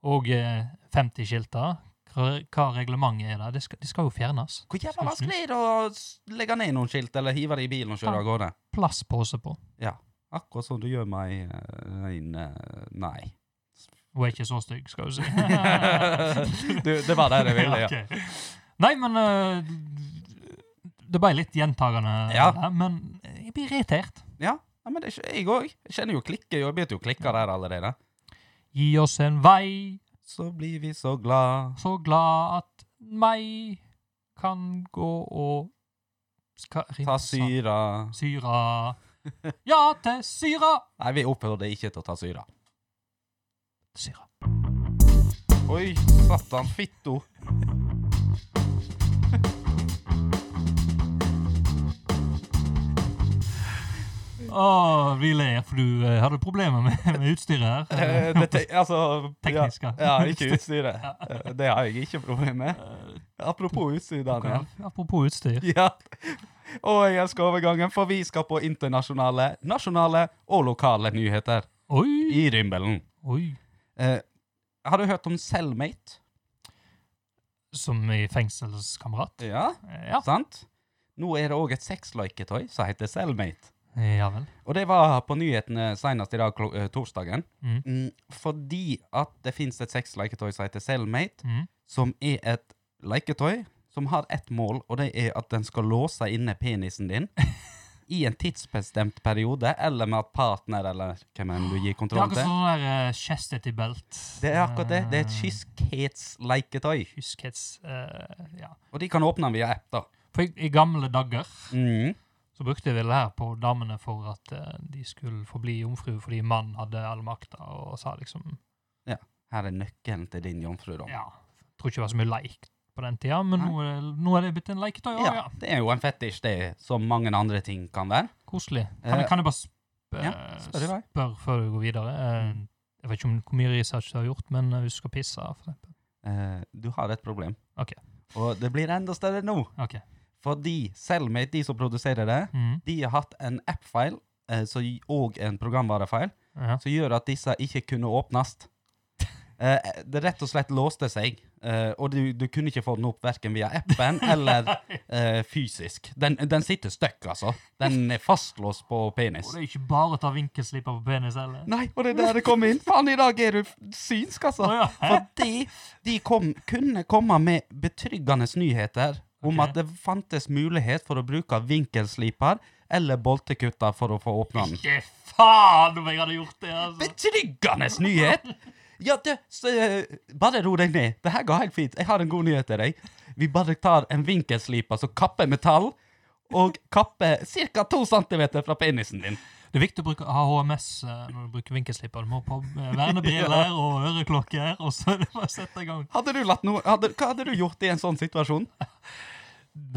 S1: Og eh, 50 skilter. Hva hva reglementet er der? De skal, de skal jo fjernes.
S2: Hvor jævla
S1: Skal vi
S2: vanskelig er det å s- legge ned noen skilt, eller hive det i bilen og kjøre av gårde?
S1: Plastpose på.
S2: Akkurat som du gjør meg eh, en eh, Nei.
S1: Hun er ikke så stygg, skal du si.
S2: du, det var det jeg ville, ja.
S1: Ok. Nei, men øh, Det ble litt gjentagende,
S2: Ja.
S1: der, men jeg blir irritert.
S2: ja men det er ikke, jeg òg. Jeg kjenner jo klikker. Jeg begynte jo å klikke der allerede.
S1: Gi oss en vei,
S2: Så blir vi så glad.
S1: så glad at meg kan gå og Ska-
S2: Ta syra.
S1: Syra. Ja til syra!
S2: Nei, vi opphørte ikke til å ta syra.
S1: Syra.
S2: Oi, satan, fitto.
S1: Å, vi ler, for du øh, hadde problemer med, med utstyret her.
S2: Eh, det te altså
S1: Teknisk,
S2: ja.
S1: ja.
S2: ja. Ikke utstyret. Eh, Det har jeg ikke problem med. Apropos utstyr, Daniel.
S1: Apropos utstyr.
S2: Ja. Og jeg elsker overgangen, for vi skal på internasjonale, nasjonale og lokale nyheter
S1: Oi!
S2: i Rimbelen.
S1: Oi.
S2: Eh, har du hørt om Cellmate?
S1: Som i fengselskamerat? Eh,
S2: Ja.
S1: Ja.
S2: Sant? Nå er det òg et sexleketøy som heter Cellmate.
S1: Ja vel.
S2: Og det var på nyhetene senest i dag, klo- eh, torsdagen.
S1: Mm.
S2: Mm, fordi at det fins et sexleketøy som heter Cellmate,
S1: Mm.
S2: som er et leketøy som har ett mål, og det er at den skal låse inne penisen din i en tidsbestemt periode, eller med at partner, eller hvem enn du gir
S1: Det er
S2: kontroll
S1: akkurat
S2: til.
S1: sånn der eh, chastity belt.
S2: Det er akkurat det. Det er et
S1: Eh,
S2: kyskhetsleiketøy.
S1: kyskhets, eh, ja.
S2: Og de kan åpne den via app, da.
S1: For i, i gamle dager
S2: Mm.
S1: så brukte jeg vel det her på damene for at eh, de skulle forbli jomfru fordi mannen hadde all makta og sa liksom
S2: Her er nøkkelen til din jomfru, da.
S1: Ja. Tror ikke det var så mye leik på den tida, men
S2: Nei.
S1: nå er, det- nå er det blitt en leketøy òg, ja.
S2: Ja, det er jo en fetisj, det, som mange andre ting kan være.
S1: Koselig. Kan,
S2: Eh,
S1: jeg- kan jeg bare sp
S2: ja,
S1: eh,
S2: spør i vei.
S1: spørre før du går videre? Eh, Jeg vet ikke om hvor mye research du har gjort, men eh, hvis du skal pisse, for eksempel.
S2: Eh, du har et problem.
S1: Ok.
S2: Og det blir enda større nå,
S1: OK.
S2: fordi Cellmate, de som produserer det,
S1: Mm,
S2: de har hatt en app-feil eh, så gi- og en programvarefeil
S1: ja.
S2: som gjør at disse ikke kunne åpnes. Eh, det rett og slett låste seg, eh, og du, du kunne ikke få den opp verken via appen eller eh, fysisk. Den, den sitter støkk, altså. Den er fastlåst på
S1: Og
S2: penis.
S1: det er ikke bare å ta vinkelsliper på penis, eller?
S2: Nei, og det er der det kom inn. Faen, i dag er du f- synsk, altså.
S1: Å, ja. Hæ?
S2: Fordi de kom, kunne komme med betryggende nyheter om
S1: Ok.
S2: at det fantes mulighet for å bruke vinkelsliper eller boltekutter for å få åpna den.
S1: Ikke faen om jeg hadde gjort det, altså!
S2: Betryggende nyhet! Ja, det, så, eh, bare ro deg ned. Det her går helt fint. Jeg har en god nyhet til deg. Vi bare tar en vinkelsliper som kapper metall, og kapper ca. 2 cm fra penisen din.
S1: Det er viktig å bruke, ha HMS eh, når du bruker vinkelsliper. Du må ha på eh, vernebriller og øreklokker, og så er det bare å sette i gang.
S2: Hadde du latt noe, hadde, hva hadde du gjort i en sånn situasjon?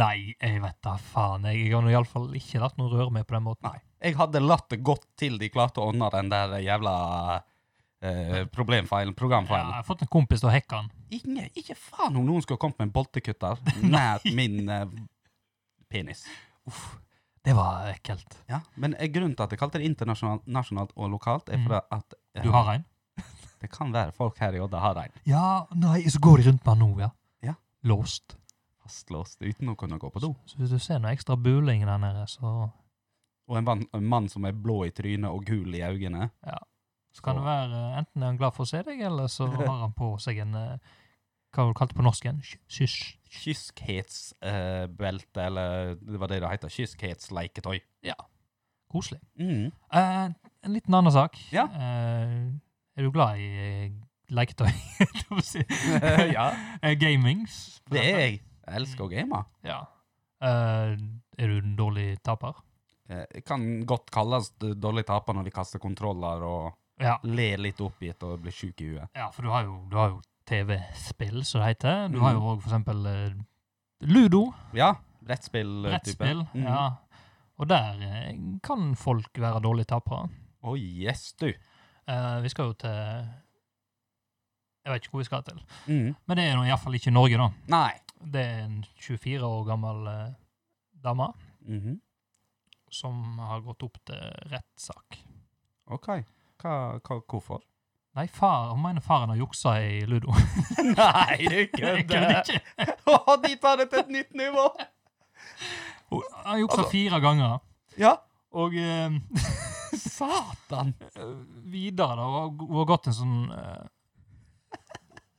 S1: Nei, jeg vet da faen. Jeg har iallfall ikke latt noen røre meg på den måten.
S2: Nei. Jeg hadde latt det gått til de klarte å ordne den der jævla eh, problemfeilen,
S1: Ja, jeg
S2: programfeilen.
S1: har fått en kompis til å hacke den.
S2: Inge, ikke faen om noen skulle kommet med en boltekutter nær min eh, penis.
S1: Uff, det var ekkelt.
S2: Ja, men eh, grunnen til at jeg kalte det internasjonalt nasjonalt og lokalt, er
S1: Mm.
S2: fordi at eh,
S1: Du har en?
S2: det kan være folk her i Odda har en
S1: Ja, nei, så går de rundt med den nå, ja.
S2: Ja.
S1: Låst.
S2: fastlåst uten å kunne gå på do.
S1: Så hvis du ser noe ekstra buling der nede, så,
S2: Og en, mann- en mann som er blå i trynet og gul i øynene.
S1: så kan det være eh, enten er han glad for å se deg, eller så har han på seg en eh, Hva var det du kalte det på norsk igjen? Ky- Kyss.
S2: Kyskhetsbelte, eh, belte, eller det var det det heter. Kyskhetsleiketøy.
S1: Koselig.
S2: Mm.
S1: Eh, en liten annen sak.
S2: Ja.
S1: Eh, er du glad i eh, leketøy? Du må si.
S2: ja,
S1: Eh, Gaming?
S2: det er jeg.
S1: Mm.
S2: Jeg elsker å game.
S1: Ja. Eh, er du en dårlig taper?
S2: Eh, kan godt kalles d- dårlig taper når vi kaster kontroller og
S1: Ja,
S2: ler litt oppgitt og blir sjuk i huet.
S1: ja for du har jo, du har jo TV-spill, som det heter. Du har
S2: Mm.
S1: jo òg for eksempel eh, Ludo,
S2: Ja, brettspill. eh, type.
S1: brettspill.
S2: Mhm.
S1: Ja. Og der eh, kan folk være dårlige tapere.
S2: Å, yes, du.
S1: Eh, vi skal jo til Jeg vet ikke hvor vi skal til.
S2: Mhm.
S1: Men det er nå iallfall ikke Norge, da.
S2: Nei.
S1: Det er en 24 år gammel eh, dame
S2: Mhm.
S1: som har gått opp til rettssak.
S2: Ok. Hva, hva, hvorfor?
S1: Nei, far, hun mener faren har juksa i Ludo.
S2: Nei, du
S1: Jeg kødder ikke.
S2: Å, de tar det til et nytt nivå!
S1: Hun har juksa fire ganger.
S2: Ja.
S1: Altså- Og eh,
S2: Satan!
S1: videre, da, hun har- hun har gått en sånn eh,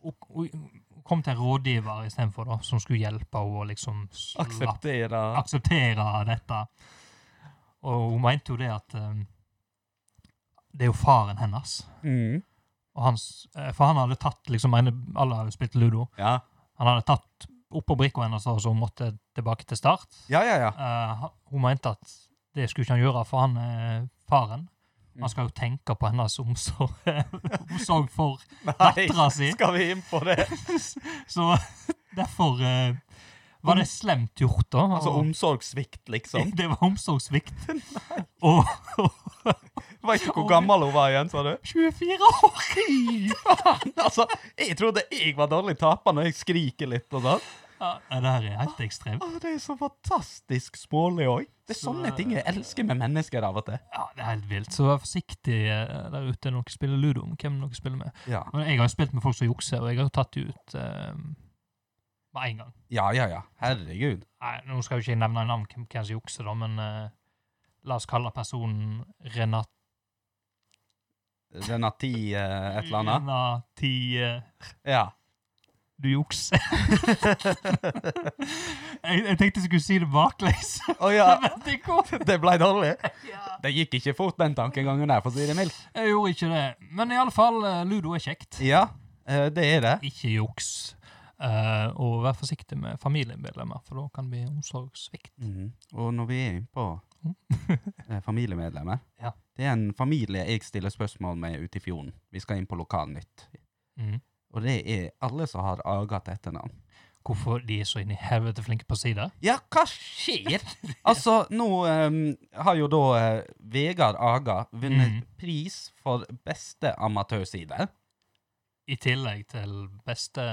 S1: Hun hun kom til en rådgiver istedenfor, da, som skulle hjelpe henne å liksom slappe
S2: Akseptere.
S1: akseptere dette. Og hun mente jo det at eh, det er jo faren hennes.
S2: Mm.
S1: Og hans, eh, for han hadde tatt liksom, en, Alle har jo spilt ludo.
S2: Ja.
S1: Han hadde tatt oppå brikka hennes, og så hun måtte tilbake til start.
S2: ja, ja, ja.
S1: Eh, han- hun mente at det skulle ikke han gjøre, for han er faren. Han skal jo tenke på hennes omsorg, omsorg for dattera si.
S2: skal vi inn på det?
S1: Så derfor eh, var det slemt gjort, da.
S2: Altså
S1: Og-
S2: omsorgssvikt, liksom.
S1: det var omsorgssvikt. Og
S2: Veit du hvor gammel hun var igjen, sa du?
S1: 24 år!
S2: Faen, altså, jeg trodde jeg var dårlig taper når jeg skriker litt og sånn.
S1: Ja, det her er helt ekstremt.
S2: Å, det er så fantastisk smålig òg. Det er
S1: Så-
S2: sånne ting jeg elsker med mennesker av og til.
S1: Ja, det er helt vilt. Så vær forsiktig eh, der ute når dere spiller ludo, om hvem dere spiller med.
S2: Ja,
S1: Men jeg har jo spilt med folk som jukser, og jeg har jo tatt de ut eh, med en gang.
S2: ja, ja. ja. Herregud.
S1: Nei, nå skal jo ikke jeg nevne navn hvem, hvem som jukser, da, men eh, la oss kalle personen Renat...
S2: Renati eh, et eller annet.
S1: Renati eh,
S2: Ja.
S1: Du jukser. jeg, jeg tenkte jeg skulle si det baklengs,
S2: Å ja,
S1: men det går
S2: det ble dårlig.
S1: ja.
S2: Det gikk ikke fort, den tankegangen der, for å si det mildt.
S1: Jeg gjorde ikke det. Men i alle fall, eh, ludo er kjekt.
S2: Ja, eh, det er det.
S1: Ikke juks. Eh, og vær forsiktig med familiemedlemmer, for da kan det bli omsorgssvikt.
S2: Mhm. Og når vi er inne på eh, familiemedlemmer
S1: Ja.
S2: Det er en familie jeg stiller spørsmål med ute i fjorden. Vi skal inn på Lokalnytt.
S1: Mhm.
S2: Og det er alle som har aga til etternavn.
S1: Hvorfor de er så inn i helvete flinke på å si det?
S2: Ja, hva skjer?! altså, nå ehm, har jo da eh, Vegard Aga vunnet
S1: Mhm.
S2: pris for beste amatørside.
S1: I tillegg til beste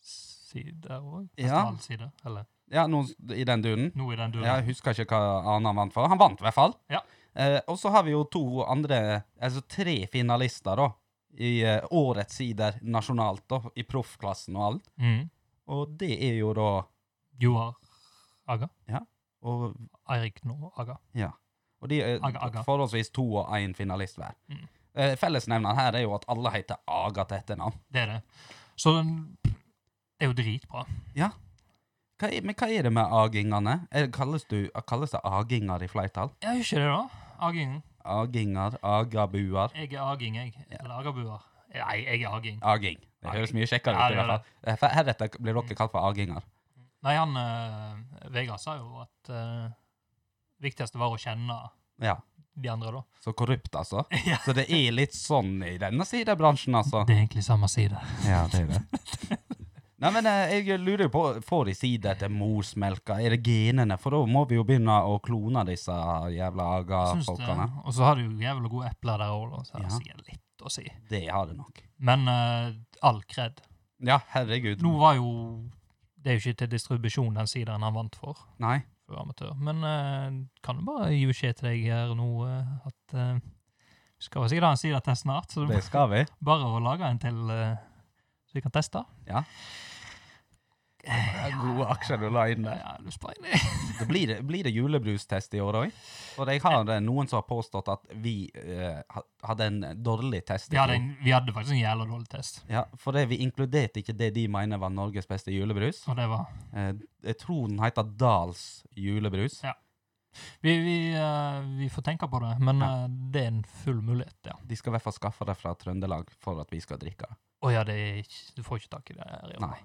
S1: side òg?
S2: Ja.
S1: Side, eller
S2: Ja, nå s- i den duren.
S1: noe i den duren.
S2: Jeg husker ikke hva annet han vant for. Han vant i hvert fall.
S1: Ja.
S2: Eh, og så har vi jo to andre, altså tre finalister da, i eh, årets sider nasjonalt da, i proffklassen og alt.
S1: Mhm.
S2: Og det er jo da,
S1: Joar Aga.
S2: og,
S1: Eirik Nå Aga.
S2: ja, og de er
S1: Aga, Aga.
S2: forholdsvis to og en finalist hver.
S1: Mm.
S2: Eh, fellesnevneren her er jo at alle heter Aga til etternavn.
S1: Det er det. Så den det er jo dritbra.
S2: Hva er, men hva er det med agingene? Er, kalles, du, kalles det aginger i fleitall?
S1: Jeg gjør ikke det, da. Aging.
S2: Aginger, agabuer,
S1: Jeg er aging, jeg. Eller agabuer. Nei, jeg er aging.
S2: aging. Det høres mye kjekkere
S1: Ja,
S2: ut i
S1: det gjør
S2: hvert fall. Eh, for Heretter blir dere kalt for aginger.
S1: Nei, han eh, Vegard sa jo at eh, viktigste var å kjenne
S2: Ja.
S1: de andre, da.
S2: Så korrupt, altså.
S1: Ja.
S2: Så det er litt sånn i denne sidebransjen, altså.
S1: Det er egentlig samme side.
S2: Ja, det er det. Nei, men eh, jeg lurer jo på, får de side til morsmelka? Er det genene? For da må vi jo begynne å klone disse jævla
S1: Syns det.
S2: aga-folkene.
S1: Og så har du jo jævla gode epler der òg, så det
S2: Ja.
S1: er sikkert litt å si.
S2: Det har det nok.
S1: Men eh, all kred.
S2: Ja, herregud.
S1: Nå var jo Det er jo ikke til distribusjon den siden han vant for,
S2: Nei.
S1: for amatør. Men eh, kan du bare gi beskjed til deg her nå eh, at eh, vi skal vel sikkert ha en side til snart, så det
S2: Det skal vi.
S1: er bare å lage en til eh, så vi kan teste.
S2: Gode aksjer du la inn
S1: Ja, du sprang.
S2: Det blir, blir det julebrustest i år òg? For jeg har eh, noen som har påstått at vi eh, ha- hadde en dårlig test. i
S1: Vi hadde,
S2: fjor.
S1: en, vi hadde faktisk en jævla dårlig test.
S2: Ja, for det, vi inkluderte ikke det de mener var Norges beste julebrus.
S1: Og det var
S2: Eh, jeg tror den heter Dals julebrus.
S1: Ja. Vi, vi, eh, vi får tenke på det, men
S2: Ja.
S1: eh, det er en full mulighet, ja.
S2: De skal i hvert fall skaffe det fra Trøndelag for at vi skal drikke det.
S1: Å ja, det er ikke, du får ikke tak i det her i år.
S2: Nei.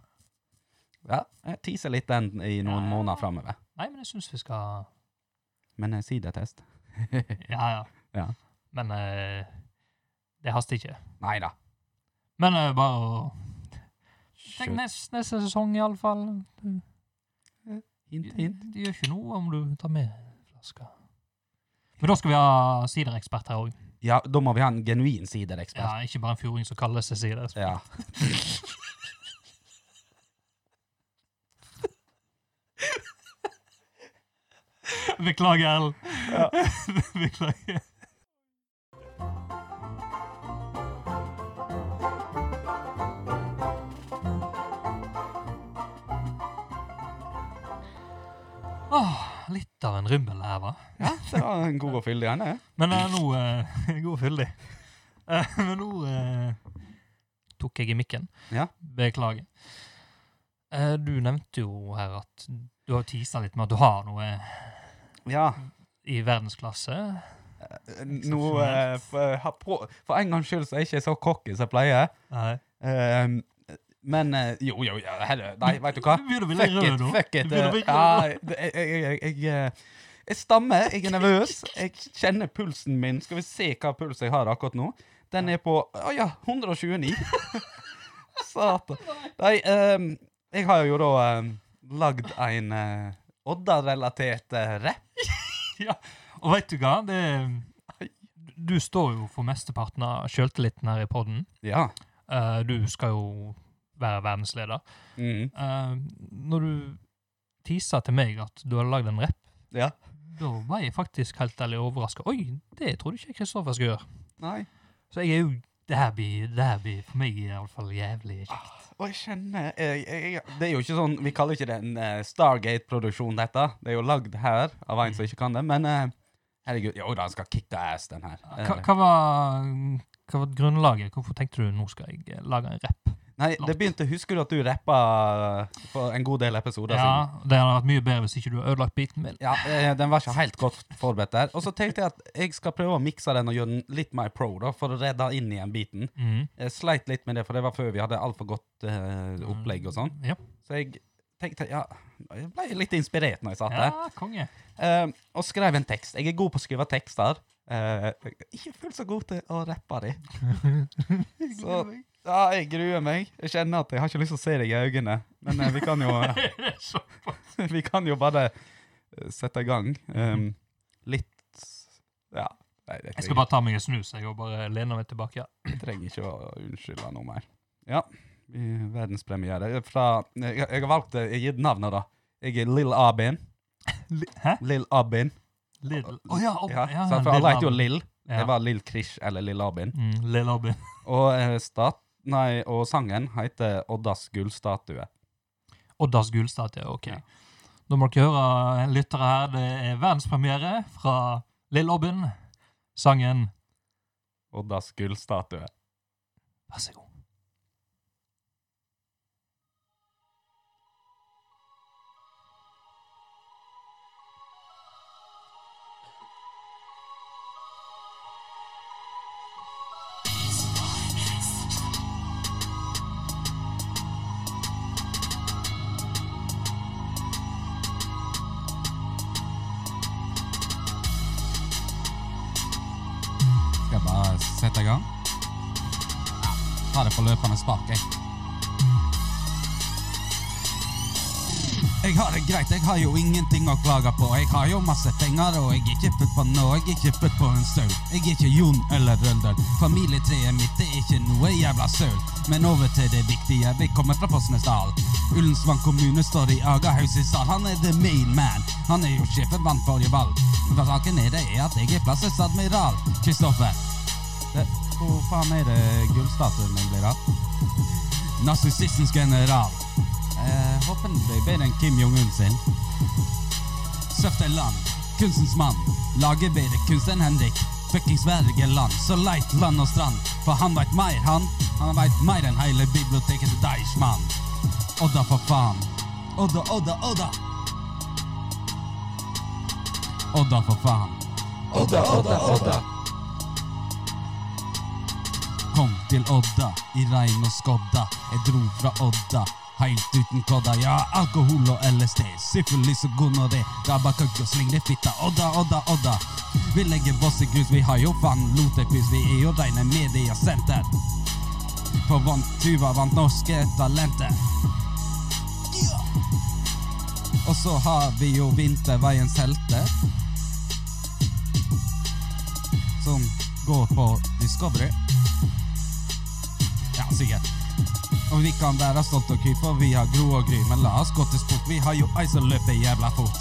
S2: Ja, jeg teaser litt den i noen
S1: Ja.
S2: måneder framover.
S1: Nei, men jeg syns vi skal
S2: Men eh, sidetest?
S1: Ja, ja.
S2: Ja.
S1: Men eh, det haster ikke.
S2: Nei da.
S1: Men eh, bare å Tenk
S2: Skjøt.
S1: neste, neste sesong, iallfall.
S2: Hint,
S1: Det
S2: hint.
S1: det gjør ikke noe om du tar med flaska. Men da skal vi ha siderekspert her òg.
S2: Ja, da må vi ha en
S1: Ja,
S2: genuin siderekspert.
S1: ikke bare en fjording som kaller seg sider.
S2: Ja.
S1: Beklager, Ellen. Beklager. Åh, litt av en rymmel her, hva?
S2: Ja, det var en god og fyldig en, det.
S1: Men eh, nå eh, God fyldig. Eh, men nå eh, tok jeg i mikken.
S2: Ja.
S1: Beklager. Eh, du nevnte jo her at du har tisa litt med at du har noe
S2: Ja.
S1: i verdensklasse.
S2: Nå, eh, for, ha prø- for en gangs skyld så er jeg ikke så cocky som jeg pleier.
S1: Nei.
S2: Ehm, men eh, jo, jo, ja, herre, nei, vet du hva?
S1: Du begynner å bli
S2: Fuck
S1: rød
S2: it,
S1: nå.
S2: fuck it.
S1: Du begynner å
S2: eh,
S1: bli
S2: Ja,
S1: rød
S2: jeg, jeg, jeg, jeg, eh, jeg stammer, jeg er nervøs. Jeg kjenner pulsen min. Skal vi se hva puls jeg har akkurat nå? Den er på å ja, 129. Satan. Nei, ehm, jeg har jo da ehm, lagd en eh, Odda-relatert eh, rapp.
S1: Ja. Og veit du hva? Det, du står jo for mesteparten av sjøltilliten her i podden.
S2: Ja.
S1: Eh, du skal jo være verdensleder.
S2: Mhm.
S1: Eh, når du tisa til meg at du hadde lagd en rapp,
S2: Ja.
S1: da var jeg faktisk helt ærlig overraska. Oi, det trodde ikke jeg Kristoffer skulle gjøre.
S2: Nei.
S1: Så jeg er jo Det her blir, det her blir for meg iallfall jævlig kjekt.
S2: Og jeg kjenner jeg, jeg, jeg, Det er jo ikke sånn Vi kaller ikke det en eh, Stargate-produksjon, dette. Det er jo lagd her av en som ikke kan det, men eh, herregud Jo da, han skal kick the ass, den her. Eh,
S1: Hva, hva, var, hva var grunnlaget? Hvorfor tenkte du nå skal jeg eh, lage en rapp?
S2: nei, det begynte Husker du at du rappa eh, for en god del episoder siden?
S1: Ja, Det hadde vært mye bedre hvis ikke du hadde ødelagt biten min.
S2: Ja, eh, Den var ikke helt godt forberedt der. Og så tenkte jeg at jeg skal prøve å mikse den og gjøre den litt mer pro, da, for å redde inn igjen biten.
S1: Mhm.
S2: Jeg sleit litt med det, for det var før vi hadde altfor godt eh, opplegg og sånn.
S1: Ja.
S2: Så jeg tenkte Ja, jeg ble litt inspirert når jeg satt der.
S1: ja, konge.
S2: Eh, og skrev en tekst. Jeg er god på å skrive tekster. Eh, ikke fullt så god til å rappe de. så ja, jeg gruer meg. Jeg kjenner at jeg har ikke lyst til å se deg i øynene. Men eh, vi, kan jo, vi kan jo bare eh, sette i gang. Um, litt Ja. Nei, det
S1: Jeg skal bare ta meg en snus jeg, og bare lene meg tilbake. Ja.
S2: jeg trenger ikke å unnskylde noe mer. Ja, i verdenspremiere. Fra, jeg, jeg har valgt det. Jeg har gitt navnet, da. Jeg er Lill Abin.
S1: Hæ?
S2: Lill Abin.
S1: Lidl. Å ja, å,
S2: Ja,
S1: ja,
S2: sant, for alle heter jo
S1: Lidl.
S2: Lill.
S1: Ja.
S2: Det var Lill Krish eller Lill Abin.
S1: Mm, Lill Abin.
S2: Og, eh, stat, nei, og sangen heter Oddas gullstatue.
S1: Oddas Gullstad, ja. Ok.
S2: Ja.
S1: Da må dere høre, lyttere her, det er verdenspremiere fra Lill Obben. Sangen
S2: Oddas gullstatue.
S1: Vær så god.
S5: Skal jeg bare sette i gang? Ta det på løpende spark, jeg. Jeg har det greit, jeg har jo ingenting å klage på. Jeg har jo masse penger, og jeg er ikke født på nå, jeg er ikke født på en støl. Jeg er ikke Jon eller Røldal. Familietreet mitt er ikke noe jævla søl. Men over til det viktige, vi kommer fra Fosnesdal. Ullensvang kommune står i Agahaus i stad. Han er the main man. Han er jo sjefen vant forrige valg. Men saken er det er at jeg er plassets admiral. Kristoffer. Det- Hvor faen er det gullstatuen min blir av? Narsissistens general. Eh, håper den blir bedre enn Kim Jong-un sin. Søfteland, kunstens mann. Lager bedre kunst enn Henrik. Fuckings Wergeland, så leit land og strand. For han veit mer, han. Han veit mer enn hele biblioteket til Deichman. Odda, for faen. Odda, Odda, Odda. Odda, for faen. Odda, Odda, Odda. Kom til Odda i regn og skodda. Jeg dro fra Odda helt uten kodda. Ja, alkohol og LSD, syfilis og gonoré. Rabakøkk og slingrefitte. Odda, Odda, Odda. Vi legger voss i grus, vi har jo vann, lotepus. Vi er jo reine mediasenter. For vant Tuva vant norske talenter. Ja. Og så har vi jo vinterveiens helter. Som går på Discovery. Ja, sikkert. Og vi kan være stolte og kry, for vi har Gro og Gry. Men la oss gå til sport, vi har jo ei som løper jævla fort.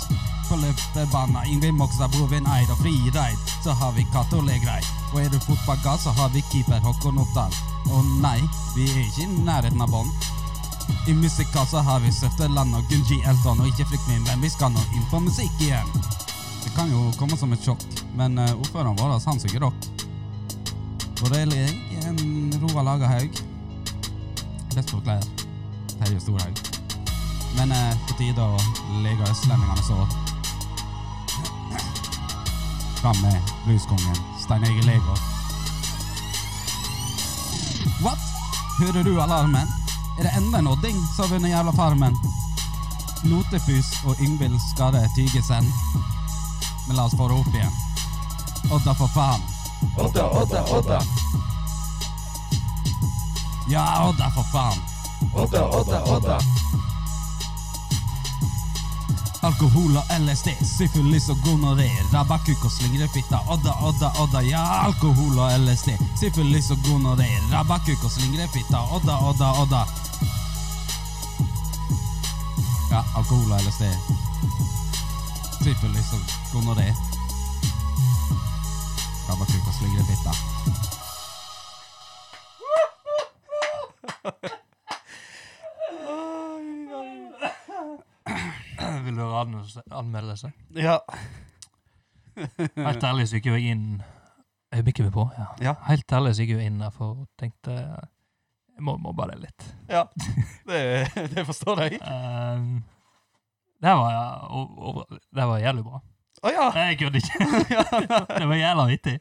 S5: På løpebanen Ingvild Moxstad, Brovin Eid og Frireid. Så har vi Cato Legrei. Og er du fotballgal, så har vi keeper Håkon Oppdal. Å nei, vi er ikke i nærheten av bånn. I musikkassa har vi Søfteland og Gunji Elton, og ikke frykt min venn, vi skal nå inn på musikk igjen. Det kan jo komme som et sjokk, men eh, ordføreren vår han synger rock. Og det er jeg, en Roar Lagerhaug. Best forklær. Terje Storhaug. Men eh, på tide å legge østlendingene sår. Fram med blueskongen Stein Egil Legård. What? Hører du alarmen? Er det enda en odding som har vunnet jævla farmen? Notepus og Yngvild Skarre Tygesen. Men la oss få det opp igjen. Odda, for faen.
S2: Odda, Odda, Odda.
S5: Ja, Odda, for faen.
S2: Odda, Odda, Odda.
S5: Alkohol og LSD, syfilis og gonoré, rabakuk og slingrefitta, odda, odda, odda, ja, alkohol og LSD, syfilis og gonoré, rabakuk og slingrefitta, odda, odda, odda. Ja, alkohol og LSD, syfilis og gonoré, rabakuk og slingrefitta.
S1: Vil du ha anmeldelse- anmeldelse?
S2: Ja.
S1: Helt ærlig så gikk jo jeg inn Øyeblikket vi på, ja.
S2: Ja.
S1: Helt ærlig så gikk jeg jo inn der for tenkte Jeg må, må bare det litt.
S2: ja. Det, det forstår jeg.
S1: Ehm, det her var, ja, o- over- det her var jævlig bra.
S2: Å ja.
S1: Nei, jeg kødder ikke. det var jævla vittig.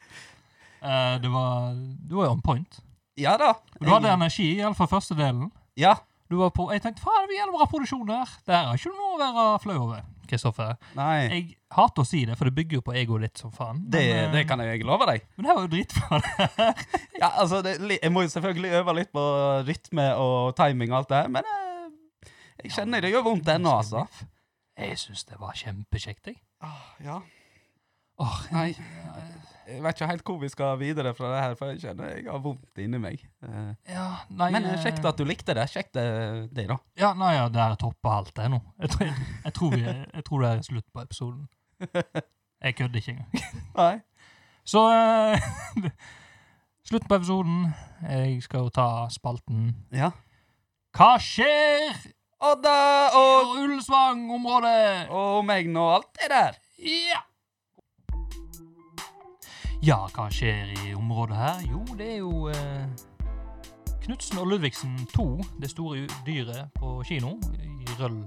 S1: Eh, det var Du var jo on point.
S2: Ja da.
S1: Du hadde energi, iallfall første delen.
S2: Ja.
S1: Du var på, jeg tenkte faen, det var jævla bra produksjon der. Det her er ikke noe å være flau over, Kristoffer.
S2: Nei.
S1: Jeg hater å si det, for det bygger jo på egoet ditt som faen.
S2: Det,
S1: men, eh,
S2: det kan jeg love deg.
S1: men det her var jo dritbra.
S2: Ja, altså, det, li- jeg må jo selvfølgelig øve litt på rytme og timing og alt det her, men eh, jeg kjenner det gjør vondt ennå, altså.
S1: Jeg syns det var kjempekjekt, jeg.
S2: Ah, Ja.
S1: Åh,
S2: Nei. Jeg vet ikke helt hvor vi skal videre fra det her, for jeg kjenner jeg har vondt inni meg. Eh,
S1: ja, nei,
S2: Men eh,
S1: eh,
S2: kjekt at du likte det. Kjekt eh, det, da.
S1: Ja, nei, ja, det her topper alt det nå. Jeg tror, jeg, tror vi, jeg tror det er slutt på episoden. Jeg kødder ikke engang.
S2: Nei.
S1: Så eh, Slutt på episoden. Jeg skal jo ta spalten
S2: Ja.
S1: Hva skjer
S2: Odda
S1: på
S2: og,
S1: Ullensvang-området?
S2: og meg nå, alt det der.
S1: Ja! Ja, hva skjer i området her? Jo, det er jo eh, Knutsen og Ludvigsen 2, det store dyret på kino i Røll.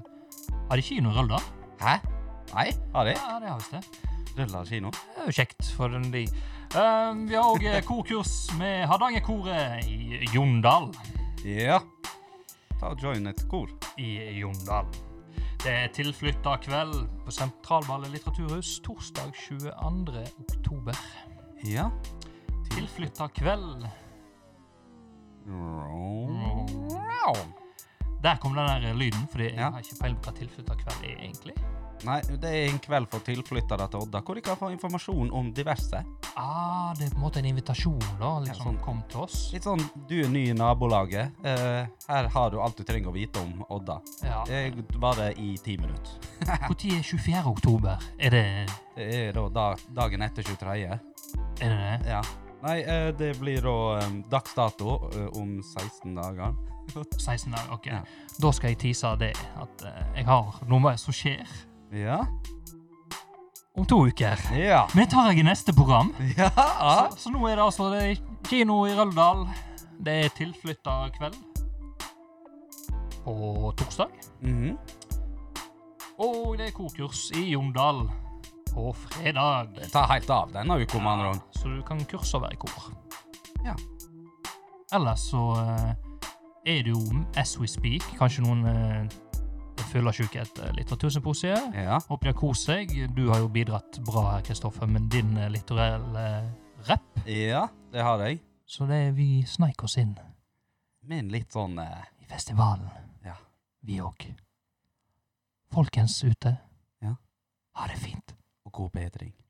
S1: Har de kino i Røll, da?
S2: Hæ? Nei, har de?
S1: Ja, det har visst det.
S2: Ruller kino.
S1: Det er jo kjekt for den de. Ehm, vi har òg korkurs med Hardangerkoret i Jondal.
S2: Ja. Ta og join et kor.
S1: I Jondal. Det er tilflytta kveld på Sentralballet litteraturhus torsdag 22. oktober.
S2: Ja.
S1: Tilflytta kveld. Der kom den der lyden, fordi jeg
S2: Ja.
S1: har ikke peiling på hva tilflytta kveld er egentlig.
S2: Nei, det er en kveld for tilflyttere til Odda, hvor de kan få informasjon om diverse.
S1: Ah, det er på en måte en invitasjon, da. Liksom,
S2: sånn.
S1: kom til oss.
S2: Litt sånn, du er ny i nabolaget. Eh, her har du alt du trenger å vite om Odda.
S1: Ja.
S2: Jeg var det i ti minutter.
S1: Når er 24. oktober? Er det
S2: Det er da da- dagen etter 23.
S1: er det? det?
S2: Ja. Nei, eh, det blir da eh, dags dato eh, om 16 dager.
S1: 16 dager, ok.
S2: Ja.
S1: Da skal jeg tease det at eh, jeg har noe som skjer
S2: Ja.
S1: om to uker.
S2: Ja.
S1: Men det tar jeg i neste program.
S2: Ja.
S1: Så, så nå er det altså det er kino i Røldal. Det er tilflytta kveld på torsdag.
S2: Mhm.
S1: Og det er kokurs i Jondal på fredag.
S2: Det tar helt av denne uka, med andre ord.
S1: Så du kan kurse og være i kor.
S2: Ja.
S1: Ellers så eh, er det jo As We Speak. Kanskje noen uh, føler seg ikke et litteratursymposium.
S2: Ja.
S1: Håper de har kost seg. Du har jo bidratt bra her, Kristoffer, med din eh, litterære eh, rapp.
S2: ja, det har jeg.
S1: Så det er vi sneik oss inn
S2: Men litt sånn eh,
S1: i festivalen,
S2: Ja.
S1: vi òg. Folkens ute,
S2: Ja.
S1: ha det fint.
S2: og god bedring.